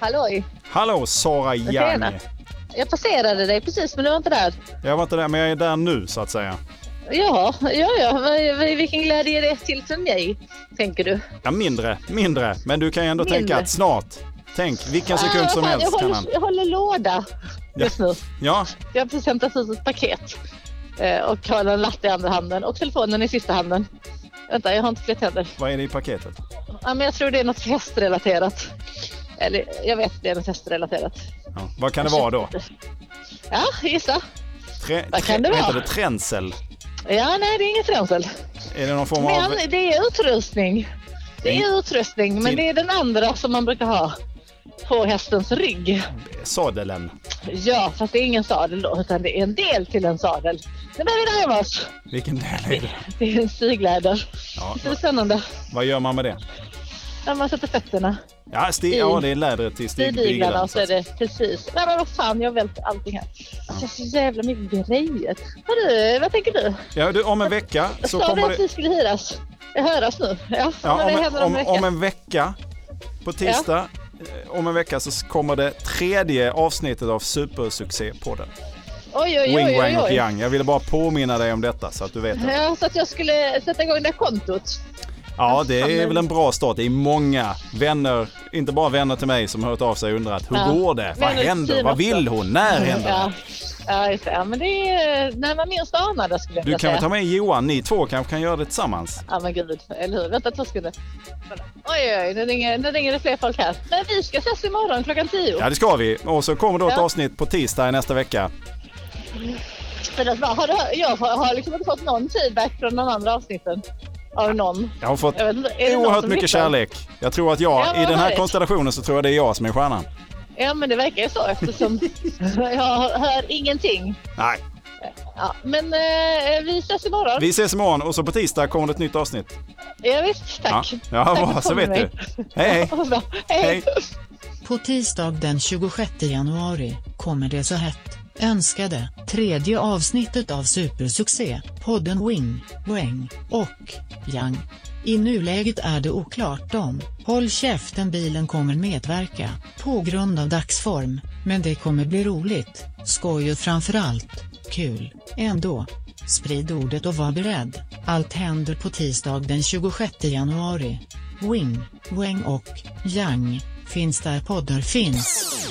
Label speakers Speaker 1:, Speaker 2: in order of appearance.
Speaker 1: halloj!
Speaker 2: Hallå Sara Young!
Speaker 1: Tjena. Jag passerade dig precis, men du var inte där.
Speaker 2: Jag var inte där, men jag är där nu så att säga.
Speaker 1: Ja, ja, ja. vad- vad- Vilken glädje det är till för mig, tänker du.
Speaker 2: Ja, mindre, mindre. Men du kan ju ändå
Speaker 1: Mindre.
Speaker 2: tänka att snart. Tänk, vilken sekund
Speaker 1: Ah,
Speaker 2: som
Speaker 1: fan,
Speaker 2: helst
Speaker 1: jag
Speaker 2: kan
Speaker 1: håller,
Speaker 2: han.
Speaker 1: Jag håller låda just nu.
Speaker 2: Ja,
Speaker 1: Jag presenteras ut ett paket eh, och har en latte i andra handen och telefonen i sista handen. Vänta, jag har inte fler tänder.
Speaker 2: vad är det i paketet?
Speaker 1: Ja, men jag tror det är något hästrelaterat. Eller jag vet att det är något hästrelaterat.
Speaker 2: Ja. Vad kan det vara då?
Speaker 1: Ja, gissa.
Speaker 2: Tre,
Speaker 1: Vad kan det
Speaker 2: vad
Speaker 1: vara?
Speaker 2: Heter det tränsel?
Speaker 1: Ja, nej, det är inget rensel.
Speaker 2: Är det någon form av...
Speaker 1: Men det är utrustning. Det är utrustning, men
Speaker 2: Till-
Speaker 1: det är den andra som man brukar ha på hästens rygg.
Speaker 2: Sadelen?
Speaker 1: Ja, fast det är ingen sadel då, utan det är en del till en sadel. Den där är närmast.
Speaker 2: Vilken del är det?
Speaker 1: Det är en stigläder.
Speaker 2: Ja,
Speaker 1: Det är spännande.
Speaker 2: vad gör man med det?
Speaker 1: När man sätter fötterna
Speaker 2: Ja, sti- ja det är lädret i
Speaker 1: i diglarna
Speaker 2: stigbyglarna.
Speaker 1: och så
Speaker 2: så
Speaker 1: är alltså,
Speaker 2: att-
Speaker 1: det precis. Nej men vad fan, jag har vält allting här. Alltså så jävla mycket grejer. Hörru, vad tänker du?
Speaker 2: Ja, du, om en vecka så
Speaker 1: Sa du
Speaker 2: kommer
Speaker 1: att vi
Speaker 2: det...
Speaker 1: skulle hyras? Höras nu? Ja,
Speaker 2: Ja,
Speaker 1: men det
Speaker 2: om,
Speaker 1: händer om,
Speaker 2: om, om en vecka, på tisdag, eh, om en vecka så s- kommer det tredje avsnittet av Supersuccépodden.
Speaker 1: Oj, oj,
Speaker 2: Wing
Speaker 1: oj,
Speaker 2: Wang
Speaker 1: oj,
Speaker 2: och
Speaker 1: oj.
Speaker 2: Yang. Jag ville bara påminna dig om detta så att du vet det.
Speaker 1: Ja, så att jag skulle sätta igång det här kontot.
Speaker 2: Ja, det
Speaker 1: fan,
Speaker 2: är
Speaker 1: men-
Speaker 2: väl en bra start. Det är många vänner, inte bara vänner till mig, som har hört av sig och undrat hur
Speaker 1: Ja.
Speaker 2: går det? Vad
Speaker 1: Vänner till
Speaker 2: händer?
Speaker 1: Kim
Speaker 2: Vad
Speaker 1: också.
Speaker 2: vill hon? När händer det?
Speaker 1: Ja, ja, just det. Ja, men det är när man minst anar det skulle jag
Speaker 2: Du
Speaker 1: vilja
Speaker 2: kan väl
Speaker 1: säga.
Speaker 2: ta med Johan? Ni två kanske kan göra det tillsammans?
Speaker 1: Ja men gud, eller hur? Vänta två sekunder. Kolla. Oj, oj, oj, nu ringer, nu ringer det fler folk här. Men vi ska ses imorgon klockan tio.
Speaker 2: Ja, det ska vi. Och så kommer då ett
Speaker 1: Ja.
Speaker 2: avsnitt på tisdag i nästa vecka.
Speaker 1: Det låter bra. Har du, jag har har liksom inte fått någon feedback från de andra avsnitten. Av någon.
Speaker 2: Jag har fått
Speaker 1: Jag vet inte, är det någon
Speaker 2: oerhört
Speaker 1: som
Speaker 2: mycket
Speaker 1: lyssnar?
Speaker 2: kärlek. Jag tror att jag,
Speaker 1: Ja, vad
Speaker 2: i den här
Speaker 1: härligt.
Speaker 2: konstellationen så tror jag det är jag som är stjärnan.
Speaker 1: Ja men det verkar ju så eftersom jag hör ingenting.
Speaker 2: Nej,
Speaker 1: Ja, men eh, vi ses imorgon.
Speaker 2: vi ses imorgon och så på tisdag kommer det ett nytt avsnitt.
Speaker 1: Ja, visst, tack.
Speaker 2: Ja, ja
Speaker 1: Tack
Speaker 2: bra,
Speaker 1: för
Speaker 2: så vet du.
Speaker 1: mig.
Speaker 2: Hej, hej.
Speaker 1: Vad bra. Hej.
Speaker 2: Hej.
Speaker 3: På tisdag den 26 januari kommer det så hett önskade tredje avsnittet av supersuccé, podden Wing, Wang och Yang. I nuläget är det oklart om Håll käften bilen kommer medverka på grund av dagsform, men det kommer bli roligt, skoj och framförallt kul ändå. Sprid ordet och var beredd, allt händer på tisdag den 26 januari. Wing, Wang och Yang finns där poddar finns.